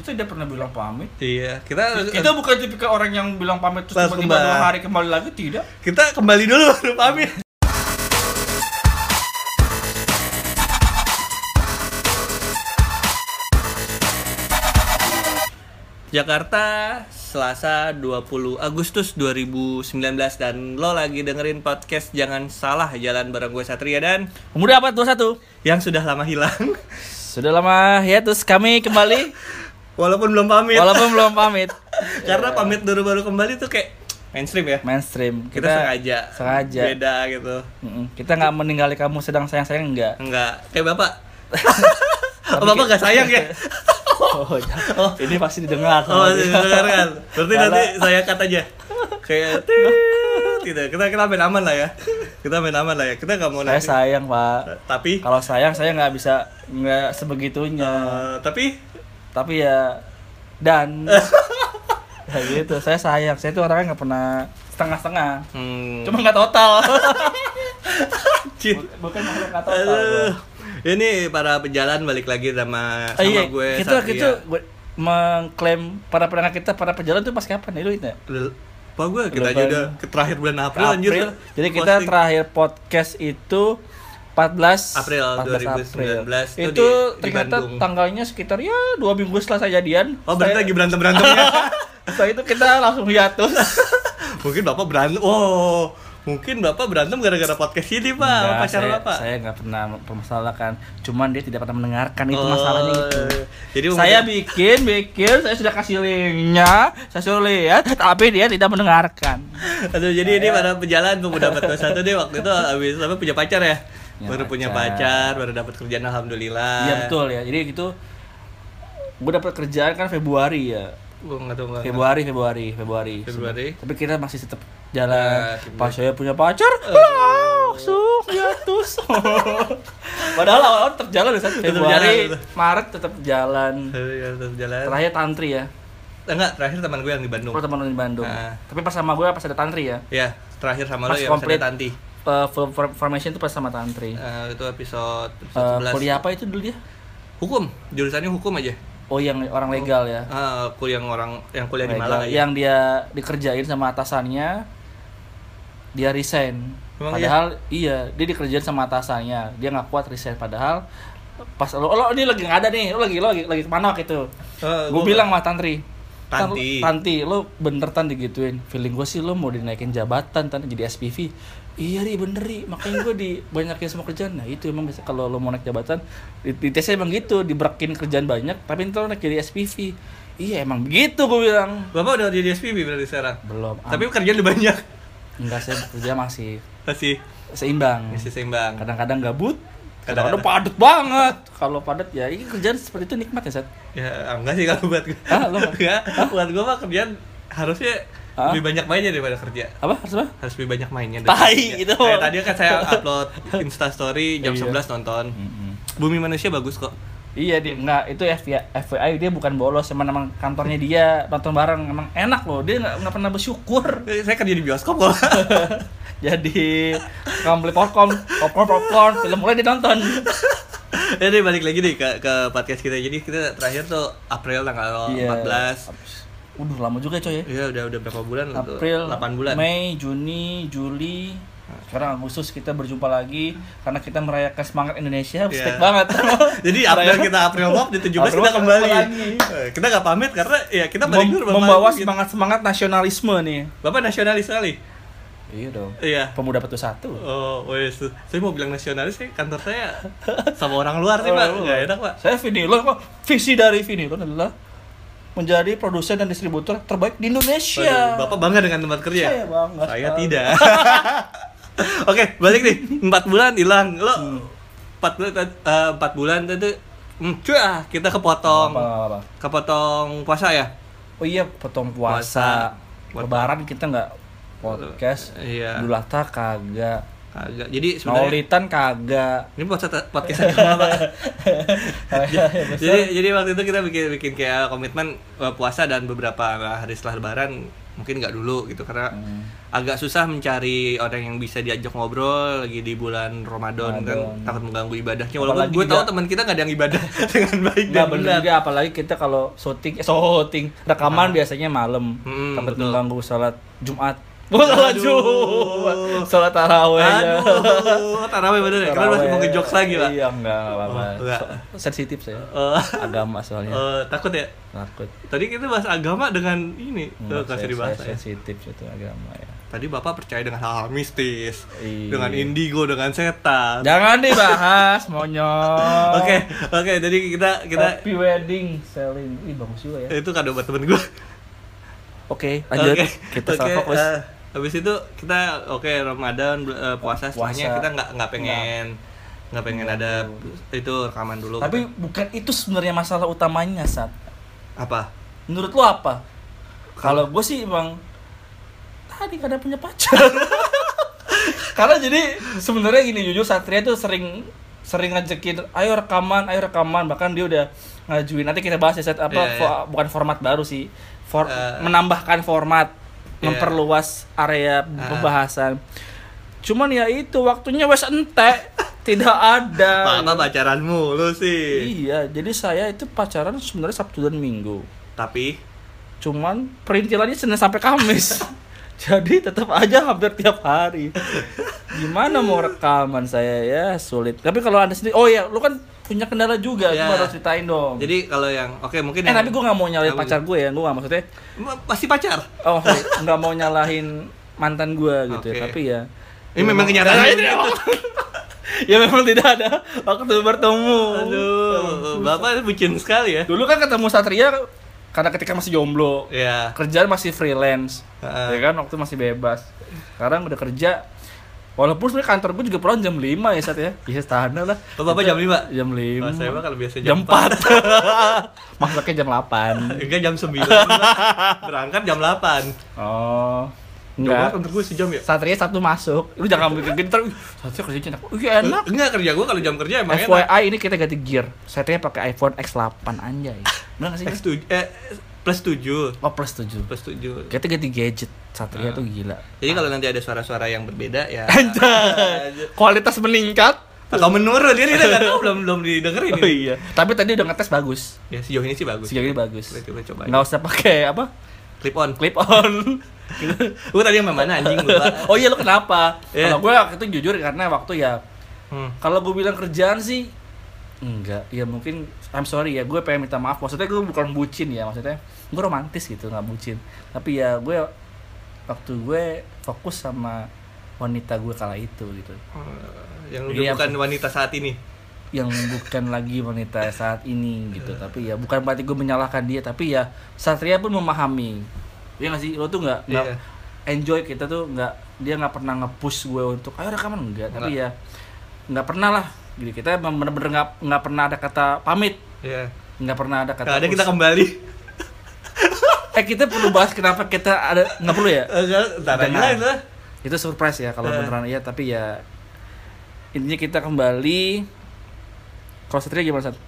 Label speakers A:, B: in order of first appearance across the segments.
A: Itu dia pernah bilang pamit.
B: Iya, kita harus-
A: Kita bukan tipikal orang yang bilang pamit terus
B: Langsung
A: tiba-tiba
B: kembali.
A: dua hari kembali lagi tidak.
B: kita kembali dulu baru pamit. Jakarta, Selasa 20 Agustus 2019 dan lo lagi dengerin podcast Jangan Salah Jalan bareng gue Satria dan
C: Pemuda abad 21
B: yang sudah lama hilang
C: Sudah lama hiatus kami kembali
B: walaupun belum pamit.
C: Walaupun belum pamit
B: Karena pamit baru-baru kembali tuh kayak mainstream ya.
C: Mainstream
B: Kita, sengaja.
C: sengaja.
B: Beda gitu.
C: Mm-mm. Kita nggak meninggali kamu sedang sayang-sayang enggak
B: Enggak, kayak bapak. Oh, bapak gak sayang ya?
C: oh,
B: Oh.
C: Ini pasti didengar
B: Oh,
C: sama dia.
B: dengarkan. Berarti
C: Karena-
B: nanti saya cut aja. Kayak tidak. Kita kita main aman lah ya. Kita main aman lah ya. Kita nggak mau
C: Saya
B: nanti.
C: sayang pak
B: Tapi
C: Kalau sayang saya nggak bisa nggak sebegitunya
B: eh, tapi
C: Tapi ya Dan Ya gitu Saya sayang Saya tuh orangnya nggak pernah setengah-setengah
B: hmm,
C: Cuma nggak total
B: cin.
C: Bukan makhluk nggak total
B: Aduh.
C: gua.
B: Ini para pejalan balik lagi sama
C: Oh,
B: sama
C: iya,
B: gue. ya.
C: kita
B: Satria.
C: kita gua- mengklaim para pendengar kita para pejalan tuh pas kapan ya lu itu ya?
B: Udah- Apa gue kita aja
C: Bulan-
B: udah ke terakhir bulan April, anjir.
C: April. Jadi kita
B: Posting.
C: terakhir podcast itu 14
B: April
C: April.
B: 2019
C: Itu
B: itu di- di
C: ternyata
B: Bandung.
C: tanggalnya sekitar ya dua minggu setelah saya jadian.
B: Oh, berarti
C: Saya-
B: lagi berantem-berantemnya.
C: Setelah itu kita langsung hiatus.
B: mungkin bapak berantem oh mungkin bapak berantem gara-gara podcast ini pak sama
C: Enggak,
B: pacar
C: saya,
B: bapak
C: saya nggak pernah mempermasalahkan. Cuman dia tidak pernah mendengarkan itu masalahnya itu.
B: Oh, jadi
C: saya
B: mungkin-
C: bikin, bikin, saya sudah kasih linknya, saya suruh lihat, tapi dia tidak mendengarkan.
B: aduh jadi ini pada pejalan pemuda 21 deh waktu itu habis apa punya pacar ya
C: Punya
B: baru punya pacar
C: pacar.
B: baru dapat kerjaan alhamdulillah
C: Iya betul ya. Jadi gitu gue dapat kerjaan kan Februari ya.
B: gue nggak tahu nggak tahu.
C: Februari, Februari, Februari.
B: Februari.
C: Tapi kita masih tetap
B: Nah,
C: jalan.
B: gitu.
C: Pas saya punya pacar,
B: Oh.
C: langsung hiatus. Padahal awal-awal tetap jalan ya, Sat.
B: Tetap jalan,
C: Februari,
B: tetap.
C: Maret tetap jalan.
B: Iya, tetap jalan
C: Terakhir tantri ya.
B: Eh, enggak terakhir teman gue yang di Bandung
C: Oh, teman lu di Bandung.
B: Nah.
C: Tapi pas sama gue pas ada tantri ya.
B: ya terakhir sama lo
C: Pas
B: ya
C: komplit.
B: komplit Tanti
C: Eh, full for- formation itu pas sama tantri.
B: Eh, itu episode,
C: Eh,
B: episode 11
C: kuliah apa itu dulu dia?
B: hukum jurusannya hukum aja
C: Oh, yang orang legal ya.
B: Ah, kuliah yang orang yang kuliah di
C: Mereka-
B: Malang aja
C: yang dia dikerjain sama atasannya dia resign
B: Emang
C: padahal iya? dia dikerjain sama atasannya dia nggak kuat resign padahal pas lo lo ini lagi nggak ada nih lo lagi lo lagi lagi kemana gitu
B: Eh,
C: gue
B: gua-
C: bilang sama tantri Tan-
B: Tanti.
C: tanti lo bener tan digituin feeling gue sih lo mau dinaikin jabatan tan jadi SPV iya ri bener ri makanya gue dibanyakin semua kerjaan nah itu emang biasa kalau lo mau naik jabatan di, di tesnya emang gitu diberakin kerjaan banyak tapi ntar lo naik jadi SPV iya emang begitu gue bilang
B: Bapak udah jadi SPB berarti sekarang?
C: belum ah,
B: Tapi kerjaan udah banyak
C: enggak saya kerja masih
B: Masih
C: seimbang
B: masih seimbang
C: kadang-kadang gabut
B: Iya Kadang-kadang.
C: kadang-kadang padat banget kalau padat ya ini kerjaan seperti itu nikmat ya Sat
B: Ya enggak sih kalau buat gue
C: Ah, lo-
B: Enggak, buat gue mah kerjaan harusnya
C: Ah?
B: lebih banyak mainnya daripada kerja
C: apa harus apa
B: harus lebih banyak mainnya
C: Tai,
B: kerja.
C: itu.
B: Kayak tadi kan saya upload instastory jam
C: Iya.
B: 11 nonton Bumi Manusia bagus kok
C: iya dia enggak itu FBI, FBI dia bukan bolos emang emang kantornya dia nonton bareng emang enak loh dia enggak, enggak pernah bersyukur
B: Eh, Saya kerja di bioskop kok
C: jadi kamu beli popcorn popcorn popcorn film mulai ditonton
B: Jadi balik lagi nih ke, ke podcast kita Jadi kita terakhir tuh April tanggal
C: Iya.
B: 14
C: udah lama juga coy ya
B: Iya udah udah berapa bulan lah tuh?
C: April,
B: 8 bulan
C: Mei, Juni, Juli. Sekarang Agustus kita berjumpa lagi karena kita merayakan semangat Indonesia.
B: Iya.
C: Stick banget.
B: Jadi April kita April Pop di 17
C: April
B: kita
C: Pop
B: kembali.
C: lagi.
B: Eh, Kita nggak pamit karena ya kita balik
C: Mem-
B: dulu Bapak.
C: membawa
B: Gitu.
C: semangat-semangat nasionalisme nih.
B: Bapak nasionalis sekali.
C: Iya dong.
B: Iya.
C: Pemuda Petu Satu.
B: Oh, wes. Saya mau bilang nasionalis sih kantor saya sama orang luar sih,
C: Oh,
B: Pak.
C: oh.
B: Enggak enak, Pak.
C: Saya Vinilon, Pak. Visi dari Vinilon adalah menjadi produsen dan distributor terbaik di Indonesia.
B: Waduh, Bapak bangga dengan tempat kerja?
C: Iya. Saya bangga
B: Saya
C: sekali.
B: tidak. Oke, balik nih. 4 bulan hilang. Lo
C: Hmm.
B: 4 bulan eh, empat bulan itu hmm, cuah, kita kepotong.
C: Apa, apa, apa.
B: Kepotong puasa ya?
C: Oh iya, potong puasa.
B: Puasa. Potong.
C: Lebaran kita nggak podcast.
B: Iya. ya?
C: Idul Adha kagak.
B: Agak. Jadi sebenarnya
C: Maulitan kagak.
B: Ini podcast podcast agama, Pak. Iya,
C: Iya,
B: jadi jadi waktu itu kita bikin bikin kayak komitmen eh, puasa dan beberapa hari setelah lebaran mungkin nggak dulu gitu karena
C: Hmm.
B: agak susah mencari orang yang bisa diajak ngobrol lagi di bulan Ramadan kan
C: Ramadan.
B: takut mengganggu ibadahnya walaupun
C: Apalagi
B: gue tahu
C: juga-
B: teman kita nggak ada yang ibadah dengan baik
C: Nggak
B: dan
C: bener
B: benar
C: juga apalagi kita kalau syuting eh, syuting rekaman biasanya malam
B: Mm,
C: takut
B: Ah. betul.
C: mengganggu sholat Jumat. Oh, sholat
B: Aduh.
C: Jumat, sholat taraweh. ya.
B: aduh taraweh bener ya kalian masih mau ngejokes lagi pak
C: Iya enggak enggak apa-apa.
B: Oh, enggak.
C: So- sensitif saya.
B: Eh,
C: Agama soalnya
B: eh, takut ya
C: takut.
B: tadi kita bahas agama dengan ini
C: Enggak,
B: tuh kasih
C: saya,
B: dibahas
C: saya
B: ya
C: sensitif itu agama ya.
B: tadi bapak percaya dengan hal-hal mistis
C: Iya.
B: dengan indigo dengan setan
C: Jangan dibahas monyong.
B: oke
C: Oh.
B: oke jadi kita kita
C: Happy wedding selling. Ih bagus juga ya.
B: itu kado buat temen gue
C: Oke, lanjut.
B: Oke,
C: Kita
B: oke,
C: salah fokus.
B: eh, habis itu kita oke Ramadan bel- eh, puasa
C: Puasa.
B: setelahnya
C: Iya.
B: kita nggak nggak pengen nggak pengen ada itu rekaman dulu.
C: Tapi
B: gitu.
C: bukan itu sebenarnya masalah utamanya, Sat.
B: apa?
C: Menurut lo apa? Kalau gue sih emang tadi kadang punya pacar. Karena jadi sebenarnya gini jujur Satria tuh sering sering ngajakin ayo rekaman, ayo rekaman bahkan dia udah ngajuin nanti kita bahas ya Sat apa
B: Iya, iya.
C: fo- bukan format baru sih. For-
B: Eh.
C: menambahkan format,
B: Iya. Eh.
C: memperluas area pembahasan. Cuman ya itu waktunya wes entek, tidak ada.
B: Apa pacaran mulu sih?
C: Iya, jadi saya itu pacaran sebenarnya Sabtu dan Minggu.
B: Tapi
C: Cuman perintilannya Senin sampai Kamis. jadi tetap aja hampir tiap hari. Gimana mau rekaman saya ya sulit. Tapi kalau Anda sendiri, oh ya, lu kan punya kendala juga,
B: Iya.
C: lu harus ceritain dong.
B: jadi kalau yang oke
C: eh,
B: mungkin yang-
C: tapi gue nggak mau nyalahin
B: Apa
C: pacar gue ya, gue nggak maksudnya.
B: Ma- masih pacar.
C: Oh, sorry, nggak mau nyalahin mantan gue gitu.
B: Oke.
C: ya Tapi ya,
B: Ini memang kenyataan.
C: Iya, ya memang tidak ada waktu bertemu.
B: Aduh, bapak bucin sekali ya.
C: Dulu kan ketemu Satria karena ketika masih jomblo,
B: Ya.
C: kerjaan masih freelance, ya
B: Heeh.
C: kan waktu masih bebas. Sekarang udah kerja, walaupun sebenarnya kantor gue juga pulang jam 5 ya Sat ya. Iya standar lah.
B: Oh, Bapak jam 5?
C: Jam 5.
B: Oh, saya mah kalau biasa jam
C: jam 4. Masaknya jam 8.
B: Enggak jam 9. Berangkat jam 8.
C: Oh.
B: Enggak.
C: Enggak.
B: kantor gue sejam ya?
C: Satria Sabtu masuk. Lu jangan bikin gini terus. Satria kerjanya enak. Iya enak.
B: Enggak kerja gue kalau jam kerja emang enak.
C: FYI ini kita ganti gear. Satria pakai iPhone X8 anjay. Benar enggak sih?
B: X tuj- eh, plus 7
C: Oh plus 7.
B: plus 7
C: Kita ganti gadget. Satria tuh gila.
B: jadi kalau nanti ada suara-suara yang berbeda ya
C: Anjay. Kualitas meningkat.
B: atau menurun ya kita nggak tahu belum belum didengerin
C: Oh
B: ini.
C: iya. Tapi tadi udah ngetes bagus.
B: ya sejauh ini sih bagus
C: Sejauh ini bagus.
B: Kita- kita coba
C: Nggak usah pakai apa?
B: clip on
C: Clip on.
B: gue tadi yang mana anjing lupa
C: oh iya lo kenapa?
B: Iya.
C: Kalau gue waktu itu jujur karena waktu ya
B: hmm.
C: kalau gue bilang kerjaan sih enggak ya mungkin I'm sorry ya gue pengen minta maaf maksudnya gue bukan bucin ya maksudnya gue romantis gitu nggak bucin tapi ya gue waktu gue fokus sama wanita gue kala itu gitu
B: yang
C: Iya,
B: udah bukan wanita saat ini
C: yang bukan lagi wanita saat ini gitu
B: Iya.
C: tapi ya bukan berarti gue menyalahkan dia tapi ya Satria pun memahami ya nggak sih lo tuh nggak nggak
B: Iya.
C: enjoy kita tuh nggak dia nggak pernah nge-push gue untuk ayo rekaman enggak tapi ya nggak pernah lah gitu kita emang bener-bener nggak nggak pernah ada kata pamit
B: ya
C: nggak pernah ada kata
B: Kalau ada
C: push.
B: kita kembali
C: eh kita perlu bahas kenapa kita ada nggak perlu ya
B: Eh, nggak, ntar
C: Jangan.
B: aja lah, itu lah.
C: itu surprise ya kalau
B: Eh.
C: beneran iya tapi ya intinya kita kembali kalau Satria gimana Sat?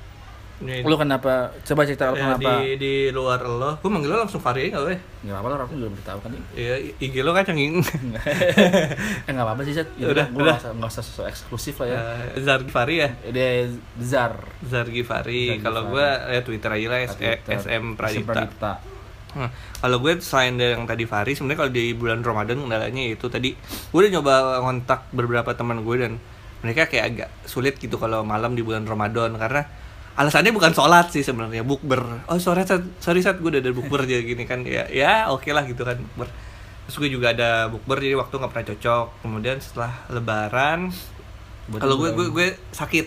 B: Ini-
C: Lu kenapa? Coba cerita lu
B: ya,
C: kenapa?
B: di di luar lo gue manggil lo langsung Fahri nggak boleh
C: Nggak apa-apa lah, aku juga beritahu kan ini.
B: Iya, IG lo kan cengeng
C: Eh nggak apa-apa sih, Cet. Ya, udah,
B: Udah,
C: gua
B: udah.
C: nggak usah, nggak usah sosok eksklusif lah ya.
B: Eh, Zargi Fahri ya
C: Dia Zar.
B: Zargi Fahri
C: Zargi
B: kalau
C: Fahri.
B: gue ya Twitter aja lah S- eh,
C: Twitter.
B: SM Pradipta
C: Pradipta.
B: Hmm, Kalau gue selain dari yang tadi Fahri, sebenarnya kalau di bulan Ramadan kendalanya itu tadi gue udah nyoba ngontak beberapa teman gue dan mereka kayak agak sulit gitu kalau malam di bulan Ramadan karena alasannya bukan sholat sih sebenarnya bukber. Oh sorry Sat, sorry Sat, gue udah ada bukber jadi gini kan ya ya oke lah gitu kan bukber. Terus gue juga ada bukber jadi waktu nggak pernah cocok. Kemudian setelah Lebaran,
C: Buat
B: kalau gue
C: liburan.
B: gue gue sakit.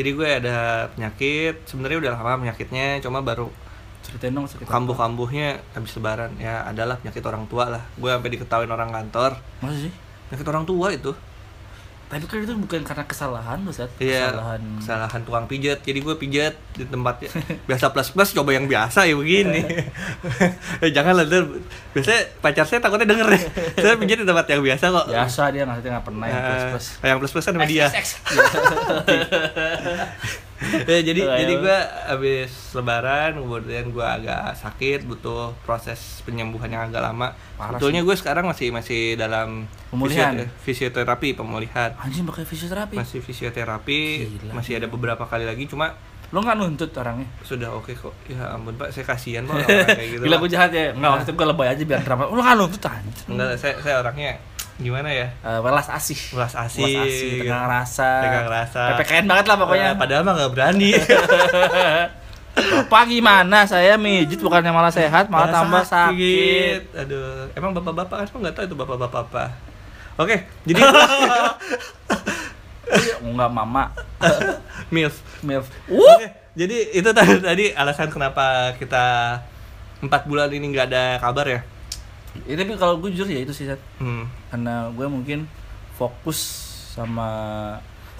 B: Jadi gue ada penyakit, sebenarnya udah lama penyakitnya, cuma baru
C: Ceritain dong sakit. apa.
B: kambuh-kambuhnya habis lebaran ya adalah penyakit orang tua lah gue sampai diketawain orang kantor
C: Masa sih?
B: penyakit orang tua itu
C: Tapi kan itu bukan karena kesalahan lu, Zat.
B: iya
C: Kesalahan.
B: kesalahan tukang pijat jadi gue pijat di tempatnya biasa plus plus coba yang biasa ya begini eh, jangan lah ntar biasanya pacar saya takutnya denger ya saya pijat di tempat yang biasa kok
C: Biasa
B: Iya.
C: dia nggak nggak pernah yang Eh, plus-plus. Iya.
B: Eh, yang plus plus kan sama dia ya, jadi
C: Lah,
B: jadi
C: ya.
B: gue habis lebaran kemudian gue agak sakit butuh proses penyembuhan yang agak lama
C: Parah
B: sebetulnya gue sekarang masih masih dalam
C: Pemulihan.
B: fisiotera- fisioterapi pemulihan
C: Anjing pakai fisioterapi.
B: masih fisioterapi
C: Gila.
B: masih ada beberapa kali lagi cuma
C: Lo nggak nuntut orangnya?
B: sudah oke kok ya ampun pak saya kasihan pak orang kayak gitu
C: Gila
B: Pak.
C: gue jahat ya. Enggak, waktu itu gue lebay aja biar drama. Lo nggak nuntut anjing.
B: enggak saya saya orangnya gimana ya
C: Eh, welas asih.
B: Welas asih.
C: Welas asih, tegang rasa.
B: Tegang rasa.
C: PPKN banget lah pokoknya.
B: Eh, padahal mah nggak berani
C: Bapak gimana saya mijit bukannya malah sehat, malah tambah sakit.
B: aduh emang bapak-bapak kan Emang nggak tahu itu bapak-bapak apa oke jadi
C: Oh, Enggak mama.
B: milf
C: Milf.
B: Oke, jadi itu tadi, tadi alasan kenapa kita empat bulan ini nggak ada kabar ya
C: Ya, tapi kalau gue jujur ya itu sih Sat.
B: hmm.
C: karena gue mungkin fokus sama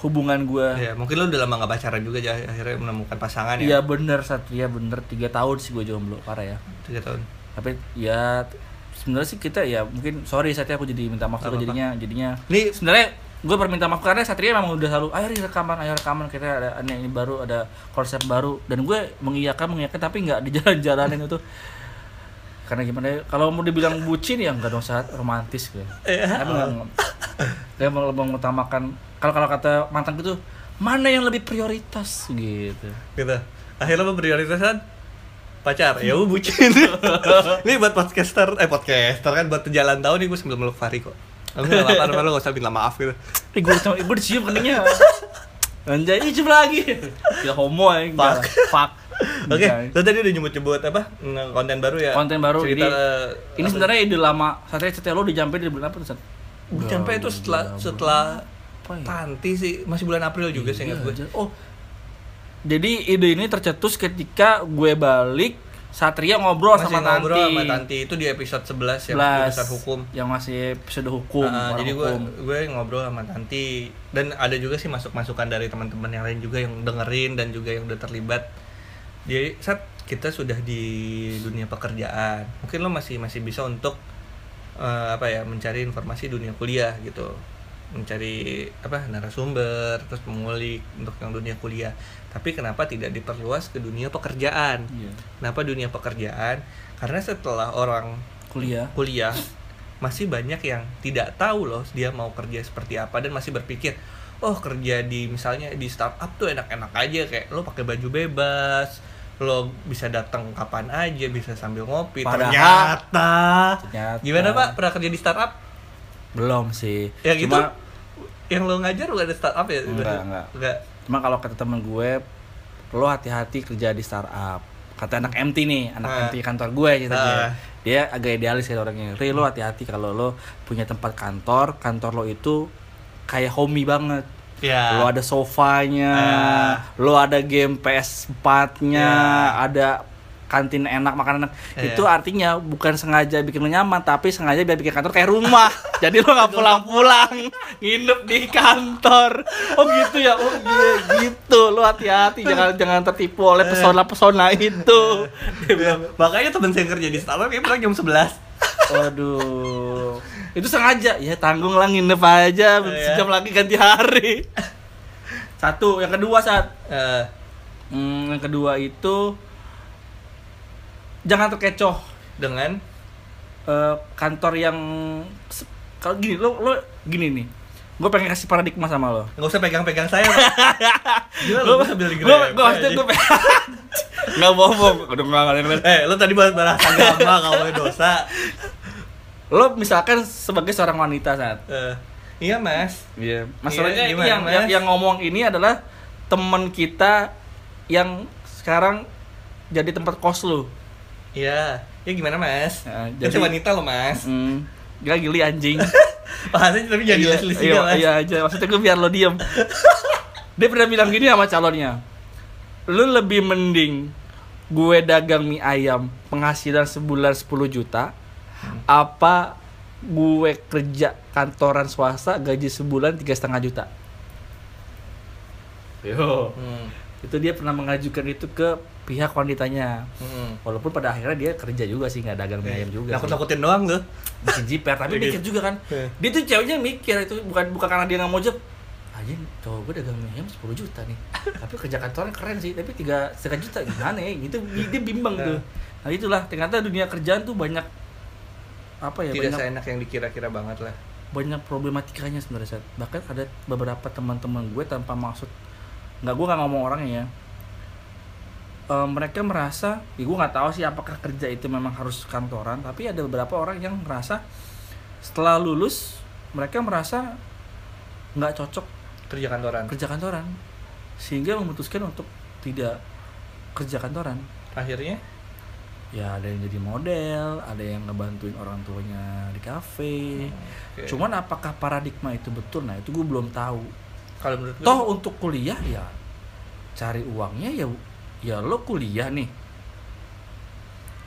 C: hubungan gue.
B: ya mungkin lo udah lama nggak pacaran juga jadi akhirnya menemukan pasangan
C: Iya
B: ya
C: bener Satria bener tiga tahun sih gue jomblo parah ya.
B: tiga tahun
C: Tapi ya sebenarnya sih kita ya mungkin sorry Satria aku jadi minta maaf
B: Gak
C: terus
B: apa-apa.
C: jadinya jadinya
B: ini
C: sebenarnya gue perminta maaf karena Satria memang udah selalu ayo Ri, rekaman ayo rekaman kita ada ada ini baru ada konsep baru dan gue mengiyakan mengiyakan tapi nggak di jalan-jalanin itu karena gimana ya, kalau mau dibilang bucin ya nggak dong saat romantis gue tapi nggak nggak- dia mau mau mengutamakan kalau kalau kata mantan gitu mana yang lebih prioritas gitu
B: gitu akhirnya lo prioritasan pacar ya gue bucin ini buat podcaster eh podcaster kan buat jalan tahun nih gue sambil meluk Fahri kok Kamu gak apa-apa, apa-apa, lo gak usah minta maaf gitu
C: Ih, gue dicium- gue dicium keningnya anjay ih, cium lagi ya homo ya enggak. fuck
B: Oke,
C: Enggak.
B: lo tadi udah nyebut-nyebut apa? mm, Konten baru ya?
C: konten baru
B: Cerita, eh,
C: jadi ini
B: apa?
C: sebenarnya ide lama satria setia lo dijampe di bulan apa tuh Sat?
B: Gua nyampe itu setelah
C: Iya,
B: setelah Tanti sih masih bulan April juga sih ingat gue.
C: ya? Iya, oh jadi ide ini tercetus ketika gue balik satria ngobrol
B: Masih
C: sama
B: ngobrol
C: tanti
B: sama Tanti itu di episode 11 ya,
C: 11,
B: episode hukum.
C: yang masih episode hukum
B: Nah,
C: orang
B: jadi gue
C: hukum.
B: gue ngobrol sama Tanti dan ada juga sih masuk-masukan dari teman-teman yang lain juga yang dengerin dan juga yang udah terlibat. Jadi saat kita sudah di dunia pekerjaan, mungkin lo masih masih bisa untuk eh, apa ya mencari informasi dunia kuliah gitu, mencari apa narasumber terus mengulik untuk yang dunia kuliah. Tapi kenapa tidak diperluas ke dunia pekerjaan?
C: Iya.
B: Kenapa dunia pekerjaan? Karena setelah orang
C: kuliah
B: kuliah masih banyak yang tidak tahu loh dia mau kerja seperti apa dan masih berpikir oh kerja di misalnya di startup tuh enak-enak aja kayak lo pakai baju bebas lo bisa datang kapan aja bisa sambil ngopi
C: Padahal-
B: ternyata,
C: Ternyata.
B: gimana pak pernah kerja di startup
C: belum sih
B: ya gitu
C: cuma
B: yang lo ngajar lo ada startup ya
C: Enggak, enggak.
B: enggak
C: cuma kalau kata temen gue lo hati-hati kerja di startup kata anak MT nih anak
B: Ah.
C: MT kantor gue ceritanya
B: Ah.
C: dia agak idealis ya orangnya Ri lo hati-hati kalau lo punya tempat kantor kantor lo itu kayak homey banget
B: ya
C: lo ada sofanya
B: Ah.
C: lo ada game PS 4 nya
B: Ya.
C: ada kantin enak makanan enak
B: Ya.
C: itu artinya bukan sengaja bikin lo nyaman tapi sengaja biar bikin kantor kayak rumah jadi lo nggak pulang-pulang nginep di kantor oh gitu ya oh iya, gitu lo hati-hati jangan jangan tertipu oleh
B: Eh.
C: pesona-pesona itu
B: Dia bilang, makanya temen saya yang kerja di startup ya pulang jam 11
C: waduh itu sengaja ya tanggung lah nginep aja
B: Oh, ya.
C: sejam lagi ganti hari satu yang kedua saat
B: Eh,
C: Hmm, yang kedua itu jangan terkecoh
B: dengan
C: Eh, kantor yang se- kalau gini lo lo gini nih gue pengen kasih paradigma sama lo
B: nggak usah pegang-pegang saya Pak. gila lo sambil
C: gue
B: digerak
C: gue maksudnya gue nggak bohong udah nggak nggak nggak- nggak.
B: Eh, lo tadi bahas bahas agama, kamu dosa.
C: lo misalkan sebagai seorang wanita saat
B: Eh, iya mas.
C: Iya. Masalahnya ini
B: Iya, gimana,
C: yang, yang
B: Mas?
C: yang ngomong ini adalah temen kita yang sekarang jadi tempat kos lo
B: Iya. Ya gimana mas?
C: Ya,
B: Ya,
C: jadi-
B: jadi wanita lo mas.
C: hmm, gak gili anjing
B: Bahasanya tapi jadi
C: Iya,
B: Leslie
C: iya,
B: juga mas.
C: Iya aja, maksudnya gue biar lo diem Dia pernah bilang gini sama calonnya Lu lebih mending gue dagang mie ayam penghasilan sebulan 10 juta Apa gue kerja kantoran swasta gaji sebulan tiga setengah juta Yo.
B: Hmm,
C: Itu dia pernah mengajukan itu ke pihak wanitanya
B: hmm. Eh,
C: Walaupun pada akhirnya dia kerja juga sih, nggak dagang mie ayam juga sih
B: Nakut-nakutin doang lo.
C: bikin jiper tapi
B: Iya,
C: mikir juga kan
B: Iya.
C: dia tuh ceweknya mikir itu bukan bukan karena dia nggak mau jep aja anjing cowok gue dagang mie ayam 10 juta nih tapi kerja kantoran keren sih tapi tiga setengah juta gimana ya gitu dia bimbang tuh
B: Iya.
C: nah itulah ternyata dunia kerjaan tuh banyak apa ya
B: tidak
C: banyak
B: seenak yang dikira-kira banget lah
C: banyak problematikanya sebenarnya Sat. bahkan ada beberapa teman-teman gue tanpa maksud nggak gue nggak ngomong orangnya ya Eh, mereka merasa ya gue nggak tahu sih apakah kerja itu memang harus kantoran tapi ada beberapa orang yang merasa setelah lulus mereka merasa nggak cocok
B: kerja kantoran
C: kerja kantoran sehingga memutuskan untuk tidak kerja kantoran
B: akhirnya
C: ya ada yang jadi model ada yang ngebantuin orang tuanya di kafe
B: oke.
C: Cuman apakah paradigma itu betul? Nah itu gue belum tahu.
B: kalau menurut gue
C: Toh untuk kuliah ya cari uangnya ya ya lo kuliah nih.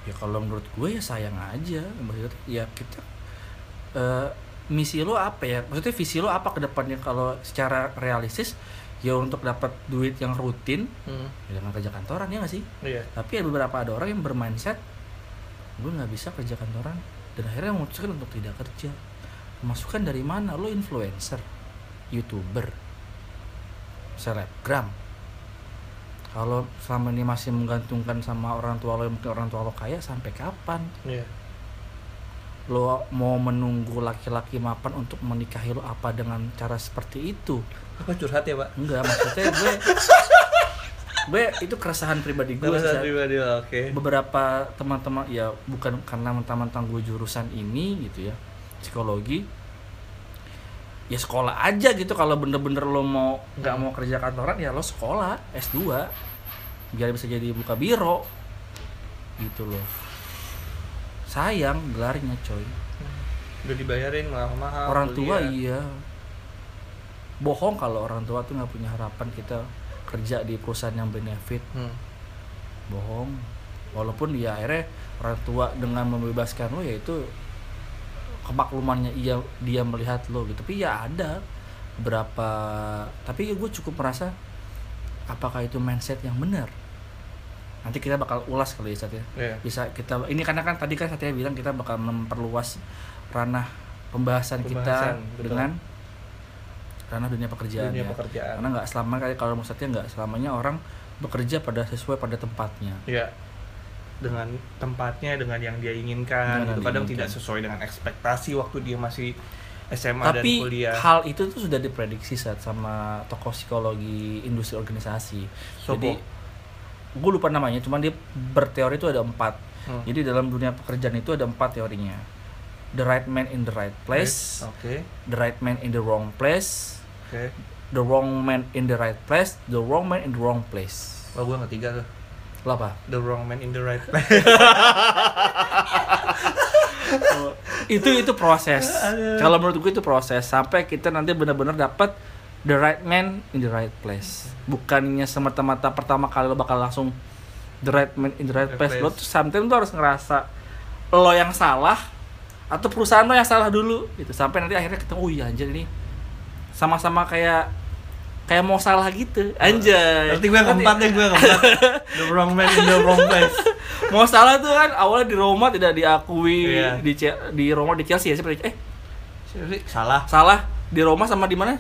C: Ya kalau menurut gue ya sayang aja. Maksudnya ya kita eh, misi lo apa ya? Maksudnya visi lo apa ke depannya kalau secara realistis ya untuk dapat duit yang rutin
B: Hmm,
C: ya dengan kerja kantoran ya nggak sih?
B: iya
C: Tapi ada beberapa ada orang yang bermindset gue nggak bisa kerja kantoran dan akhirnya memutuskan untuk tidak kerja. Masukan dari mana? Lo influencer, youtuber, selebgram. Kalau selama ini masih menggantungkan sama orang tua lo yang mungkin orang tua lo kaya sampai kapan?
B: iya
C: Lo mau menunggu laki-laki mapan untuk menikahi lo apa dengan cara seperti itu?
B: apa curhat ya pak
C: Enggak, maksudnya gue gue itu keresahan pribadi gue.
B: Keresahan
C: Sat.
B: pribadi lah, oke
C: beberapa teman-teman ya bukan karena mentang-mentang gue jurusan ini gitu ya psikologi ya sekolah aja gitu kalau bener-bener lo mau nggak mau kerja kantoran ya lo sekolah S2 biar bisa jadi buka biro gitu loh sayang gelarnya coy
B: udah dibayarin mahal-mahal
C: orang tua
B: kuliah.
C: iya bohong kalau orang tua tuh nggak punya harapan kita kerja di perusahaan yang benefit
B: Hmm,
C: bohong walaupun ya akhirnya orang tua dengan membebaskan lo yaitu kemaklumannya ia dia melihat lo gitu tapi ya ada berapa tapi ya gue cukup merasa apakah itu mindset yang benar nanti kita bakal ulas kali ya Sat ya
B: iya
C: bisa kita ini karena kan tadi kan Satya bilang kita bakal memperluas ranah pembahasan,
B: Pembahasan,
C: kita
B: betul.
C: dengan ranah dunia pekerjaan ya
B: dunia pekerjaan
C: karena nggak selama kayak kalau maksudnya nggak selamanya orang bekerja pada sesuai pada tempatnya
B: iya dengan tempatnya dengan yang dia
C: Dengan
B: inginkan itu
C: yang
B: kadang
C: diinginkan.
B: tidak sesuai dengan ekspektasi waktu dia masih SMA dan
C: tapi
B: kuliah
C: hal itu tuh sudah diprediksi saat sama tokoh psikologi industri organisasi
B: Sopo?
C: jadi gue lupa namanya cuman dia berteori itu ada empat
B: Hmm.
C: jadi dalam dunia pekerjaan itu ada empat teorinya the right man in the right place
B: oke
C: the right man in the wrong place
B: oke
C: the wrong man in the right place the wrong man in the wrong place
B: Wah, gue ketiga tuh
C: Lah apa
B: the wrong man in the right place
C: itu itu proses kalau menurut gue itu proses sampai kita nanti benar-benar dapat the right man in the right place bukannya semata-mata pertama kali lo bakal langsung the right man in the right
B: The
C: place, lo
B: place.
C: tuh sometimes lo harus ngerasa lo yang salah atau perusahaan lo yang salah dulu gitu sampai nanti akhirnya ketemu oh iya anjir ini sama-sama kayak kayak mau salah gitu anjay
B: nanti gue yang keempat deh gue yang keempat the wrong man in the wrong place
C: mau salah tuh kan awalnya di Roma tidak diakui
B: Iya.
C: di Ce- di Roma di Chelsea ya seperti eh
B: salah
C: salah di Roma sama di mana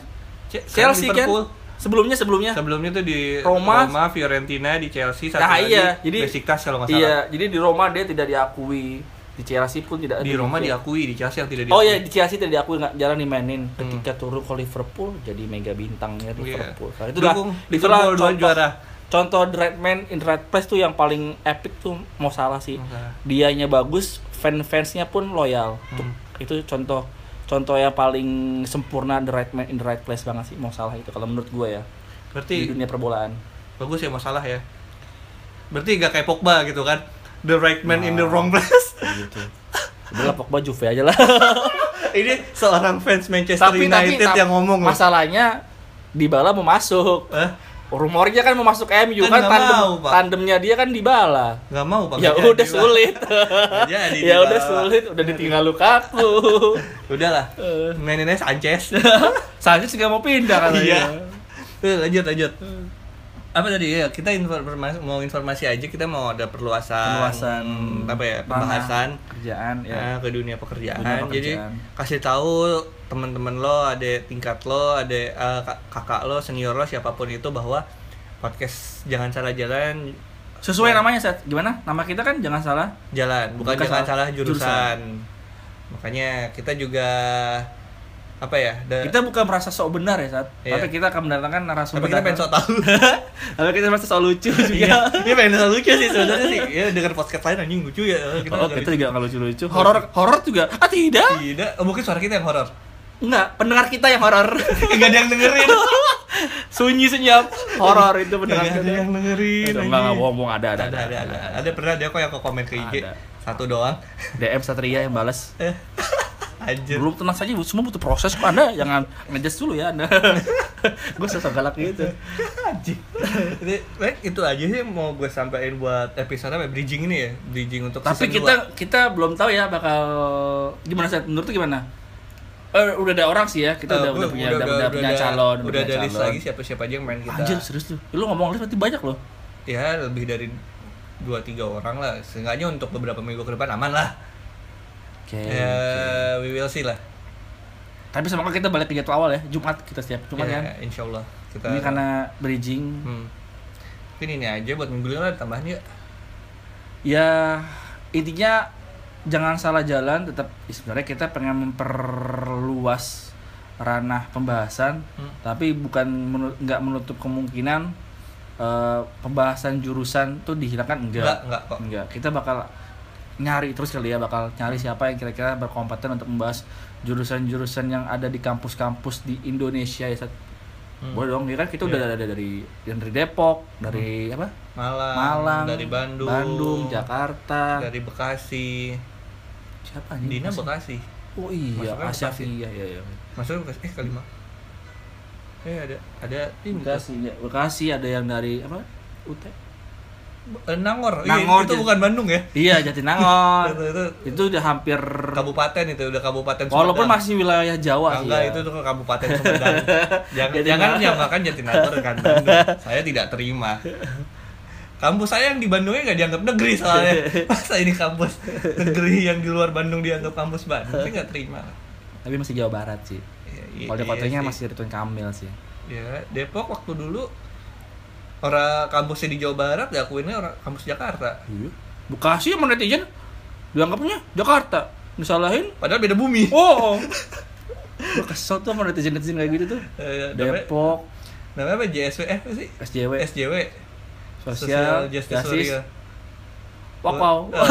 B: C-
C: Chelsea kan
B: Liverpool.
C: sebelumnya sebelumnya
B: sebelumnya tuh di
C: Roma.
B: Roma, Fiorentina di Chelsea satu
C: nah
B: lagi
C: iya jadi
B: Besiktas kalau nggak
C: iya
B: salah
C: jadi di Roma dia tidak diakui di Chelsea pun tidak
B: di Roma diakui di Chelsea yang tidak diakui
C: oh iya di Chelsea tidak diakui nggak jarang dimainin ketika turun ke Liverpool jadi mega bintangnya
B: Hmm. Iya.
C: Liverpool nah, itulah
B: Dukung
C: itulah
B: Liverpool dua
C: contoh-
B: juara.
C: contoh the right man in the right place tuh yang paling epic tuh mau salah sih
B: Salah.
C: dianya bagus fan-fansnya pun loyal Tuh, itu contoh contoh yang paling sempurna the right man in the right place banget sih mau salah itu kalau menurut gue ya
B: berarti
C: di dunia perbolaan
B: bagus ya masalah ya berarti gak kayak Pogba gitu kan the right man in the
C: Nah.
B: wrong place
C: gitu udahlah Pogba Juve aja lah
B: ini seorang fans Manchester United yang ngomong ya. loh.
C: masalahnya Dybala mau masuk
B: Hah?
C: rumornya kan mau masuk MU kan,
B: Kan nggak
C: tandem
B: mau, Pak.
C: tandemnya dia kan Dybala
B: nggak mau pak
C: ya
B: nggak jadi,
C: udah
B: Pak.
C: sulit
B: Nggak
C: ya
B: jadi Dybala.
C: udah sulit udah ditinggal Lukaku
B: udahlah
C: Eh.
B: maininnya Sanchez
C: Sanchez juga mau pindah katanya
B: Iya. Tuh, lanjut lanjut
C: Eh.
B: apa tadi ya kita informasi mau informasi aja kita mau ada perluasan
C: Perluasan.
B: apa ya
C: Ranah.
B: pembahasan
C: kerjaan ya
B: nah, Eh, ke Iya. dunia pekerjaan.
C: Dunia pekerjaan.
B: jadi kasih tahu teman-teman lo, ada tingkat lo, ada eh, kak- kakak lo, senior lo, siapapun itu bahwa podcast jangan salah jalan
A: Sesuai namanya, Seth. Gimana? Nama kita kan jangan salah.
B: jalan, bukan,
A: Bukan
B: jangan
A: salah
B: salah jurusan. Makanya kita juga apa ya? da-
A: Kita bukan merasa sok benar ya, Seth.
B: Iya.
A: Tapi kita akan mendatangkan narasumber.
B: tapi kita pengen
A: datang.
B: sok tahu.
C: Lalu kita merasa soal lucu
B: Iya,
C: juga.
B: ini pengen sok lucu sih sebenarnya sih. Ya dengan podcast lain anjing lucu ya. Kita
C: oh,
B: nggak
C: kita
B: lucu.
C: juga nggak lucu-lucu. Horor, horor juga. Ah tidak,
B: tidak. Oh, mungkin suara kita yang horor.
C: nggak. Pendengar kita yang horor.
B: Enggak ada yang dengerin.
C: Sunyi senyap. Horor itu pendengar
B: Nggak ada
C: kita. Gitu.
B: yang dengerin.
C: Enggak,
B: anjing.
C: enggak bohong-bohong ada
B: iya. ada,
C: ada,
B: ada, ada, ada, pernah ada kok yang ke komen ke IG
C: Ada.
B: satu doang
C: DM Satria yang balas.
B: anjir
C: Belum tenang saja, Bu. semua butuh proses kok. Anda jangan ngejas dulu ya Anda. Gue sosok galak gitu.
B: Ini, Ren, itu aja sih yang mau gue sampaikan buat episode apa bridging ini ya bridging untuk
C: Tapi
B: season
C: kita kita belum tahu ya bakal gimana Seth? Menurut lu gimana? Eh, udah ada orang sih ya, kita
B: Eh,
C: udah,
B: gue
C: udah punya udah,
B: udah-
C: udah
B: udah
C: punya
B: ada-
C: calon,
B: udah,
C: punya
B: ada list
C: calon.
B: lagi siapa siapa aja yang main kita
C: Anjir serius tuh. Lu ngomong list berarti banyak loh.
B: ya lebih dari dua tiga orang lah seenggaknya untuk beberapa minggu ke depan aman lah
C: Oke.
B: ya we will see lah
C: Tapi semoga kita balik ke jadwal awal ya. Jumat kita setiap Jumat
B: ya,
C: kan.
B: insyaallah kita
C: Ini kan- karena bridging.
B: hmm. mungkin ini aja buat minggu ini lah tambahan ya
C: Ya intinya jangan salah jalan tetap ya sebenarnya kita pengen memperluas ranah pembahasan
B: Hmm.
C: tapi bukan menu- nggak menutup kemungkinan eh, pembahasan jurusan tuh dihilangkan
B: enggak
C: enggak
B: enggak kok
C: enggak kita bakal nyari terus kali ya bakal nyari siapa yang kira-kira berkompeten untuk membahas jurusan-jurusan yang ada di kampus-kampus di Indonesia ya Sat.
B: Hmm.
C: boleh dong ya kan kita
B: Iya. Hmm.
C: udah ada dari dari Depok dari apa
B: Malang,
C: Malang
B: dari Bandung,
C: Bandung Jakarta
B: dari Bekasi,
C: siapa nih
B: Dina Bekasi,
C: oh iya
B: Masuknya
C: Asyaf
B: Bekasi.
C: iya iya iya
B: maksudnya Bekasi, eh Kalima, eh ada ada ini
C: Bekasi ya Bekasi ada yang dari apa UT
B: Eh, Nangor, Iya,
C: Nangor,
B: itu
C: jadi-
B: bukan Bandung ya,
C: iya Jatinangor
B: itu, itu
C: itu udah hampir
B: kabupaten itu udah kabupaten.
C: walaupun
B: Sumedang.
C: masih wilayah Jawa sih
B: enggak
C: ya.
B: itu tuh kabupaten Sumedang. jangan
C: Jatinangor.
B: jangan menyamakan Jatinangor dengan Bandung. Saya tidak terima. Kampus saya yang di Bandungnya nggak dianggap negeri soalnya. Masa ini kampus negeri yang di luar Bandung dianggap kampus Bandung? Saya nggak terima.
C: tapi masih Jawa Barat sih
B: Ya, iya-
C: Kalau di
B: iya
C: kotanya
B: sih.
C: masih Ridwan Kamil sih.
B: Ya, Depok waktu dulu orang kampusnya di Jawa Barat diakuinnya orang kampus Jakarta.
C: Iya. Bekasi sama netizen dianggapnya Jakarta. Disalahin.
B: Padahal beda bumi.
C: Oh. oh. Gua kesel tuh sama netizen-netizen kayak gitu tuh.
B: Eh, namanya,
C: Depok,
B: namanya apa? JSW eh, apa sih?
C: SJW,
B: SJW.
C: Sosial
B: Justice ya.
C: Justice,
B: Warrior.
C: Wakau.
B: Oh,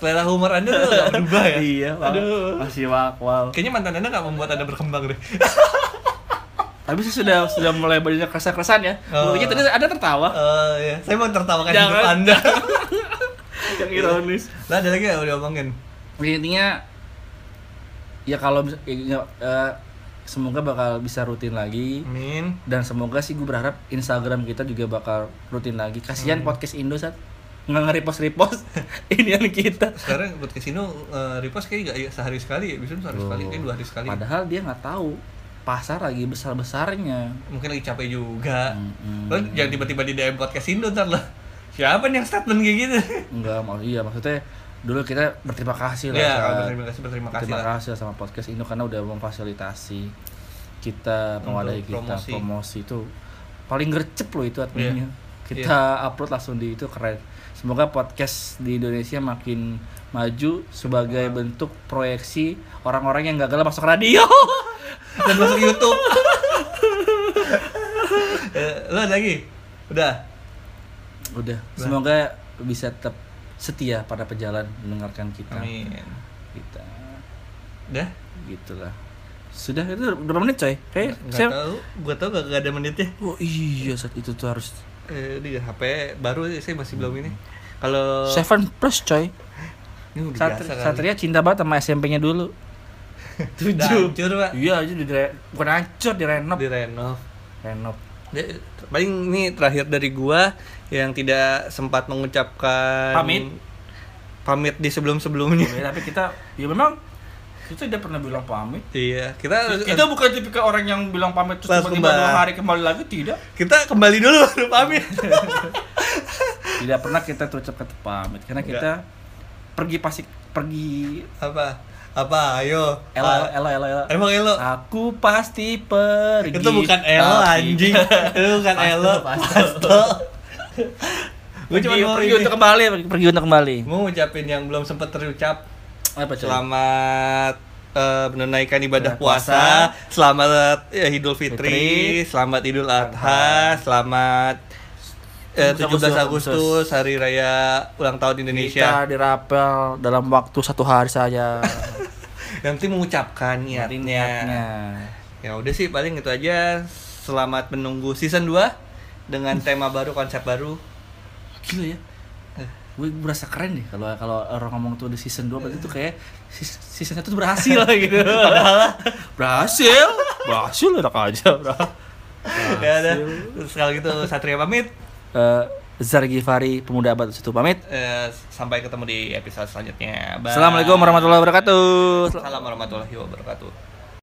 B: Selera humor Anda tuh nggak berubah ya?
C: Iya, Wak-
B: Aduh.
C: masih Wakwau.
B: Kayaknya mantan Anda nggak membuat Anda berkembang deh.
C: Tapi sih sudah sudah mulai banyak keresan-keresan ya.
B: Oh.
C: Pokoknya tadi ada tertawa
B: Eh, ya. Saya mau tertawakan
C: Jangan.
B: hidup Anda.
C: yang ironis.
B: Lah ada lagi yang udah omongin.
C: Ya, intinya ya kalau mis- ya, eh, semoga bakal bisa rutin lagi.
B: Amin.
C: dan semoga sih gue berharap Instagram kita juga bakal rutin lagi kasihan
B: Hmm.
C: podcast Indo saat nggak nge-repost repost inian kita
B: Sekarang buat kesino eh, repost kayaknya nggak ya, sehari sekali ya, bisa sehari sekali, kayak dua hari sekali.
C: padahal dia nggak tahu pasar lagi besar besarnya
B: mungkin lagi capek juga lo jangan tiba-tiba di DM podcast Indo ntar lo siapa nih yang statement kayak gitu
C: nggak mau iya maksudnya dulu kita berterima kasih lah
B: ya
C: Sat.
B: kalau berterima kasih berterima kasih
C: Iya, terima
B: lah
C: kasih lah sama podcast Indo karena udah memfasilitasi kita mewadahi
B: Untuk
C: kita
B: promosi.
C: promosi itu paling gercep loh itu adminnya
B: Iya.
C: kita upload langsung di itu keren semoga podcast di Indonesia makin maju sebagai bentuk proyeksi orang-orang yang gagal masuk radio
B: dan masuk YouTube Eh, lo ada lagi udah
C: udah semoga bisa tetap setia pada pejalan mendengarkan kita
B: amin
C: kita
B: udah
C: gitulah sudah itu berapa menit coy kayak
B: nggak
C: saya
B: tahu gua tau gak, gak ada menitnya
C: oh iya saat itu tuh harus
B: Eh, di HP baru sih, saya masih belum ini kalau
C: Seven plus coy
B: ini udah
C: Satri-
B: biasa kali
C: Satria cinta banget sama SMP-nya dulu.
B: Udah hancur pak
C: Iya, aja di dire- bukan hancur di renov.
B: di renov
C: Renov.
B: Ya, paling ini terakhir dari gua yang tidak sempat mengucapkan
A: Pamit.
B: pamit di sebelum sebelumnya
A: Ya, tapi kita ya memang kita udah pernah bilang pamit.
B: iya kita
A: Kita bukan tipikal orang yang bilang pamit terus
B: Langsung
A: tiba-tiba dua
B: bah.
A: hari kembali lagi tidak.
B: kita kembali dulu baru pamit
C: Tidak pernah kita terucap kata pamit karena kita pergi pasti pergi
B: apa Apa? Ayo.
C: Elo,
B: Ah,
C: elo, elo, elo.
B: Emang elo?
C: Aku pasti pergi.
B: Itu bukan elo
C: Ah, gitu. tapi-
B: anjing. Itu bukan
A: Pasto,
B: elo.
A: pasto.
B: Pasto. Gue cuma
C: pergi,
B: mau
C: pergi
B: ini.
C: untuk kembali, pergi- pergi untuk kembali.
B: Mau ngucapin yang belum sempat terucap.
C: Apa coy?
B: Selamat eh, menunaikan
C: Ibadah
B: ibadah puasa, selamat eh, Idul
C: Fitri.
B: Fitri, selamat Idul Adha, selamat eh, 17
C: Agustus.
B: Agustus hari raya ulang tahun
C: Kita
B: Indonesia.
C: dirapel dalam waktu satu hari saja.
B: Nanti mengucapkan
C: Nanti
B: niatnya.
C: Iya.
B: Ya udah sih paling itu aja. Selamat menunggu season 2 dengan tema baru, konsep baru.
C: Gila ya. Gue berasa keren deh kalau kalau orang ngomong tuh di season 2 berarti tuh kayak seas- season 1 tuh berhasil gitu. Padahal berhasil. Berhasil enak aja, bro.
B: ya udah. Sekali gitu Satria pamit.
C: Eh, Zargi Fari, pemuda abad satu pamit.
B: Eh, sampai ketemu di episode selanjutnya. Bye.
C: Assalamualaikum warahmatullahi wabarakatuh.
B: Salam warahmatullahi wabarakatuh.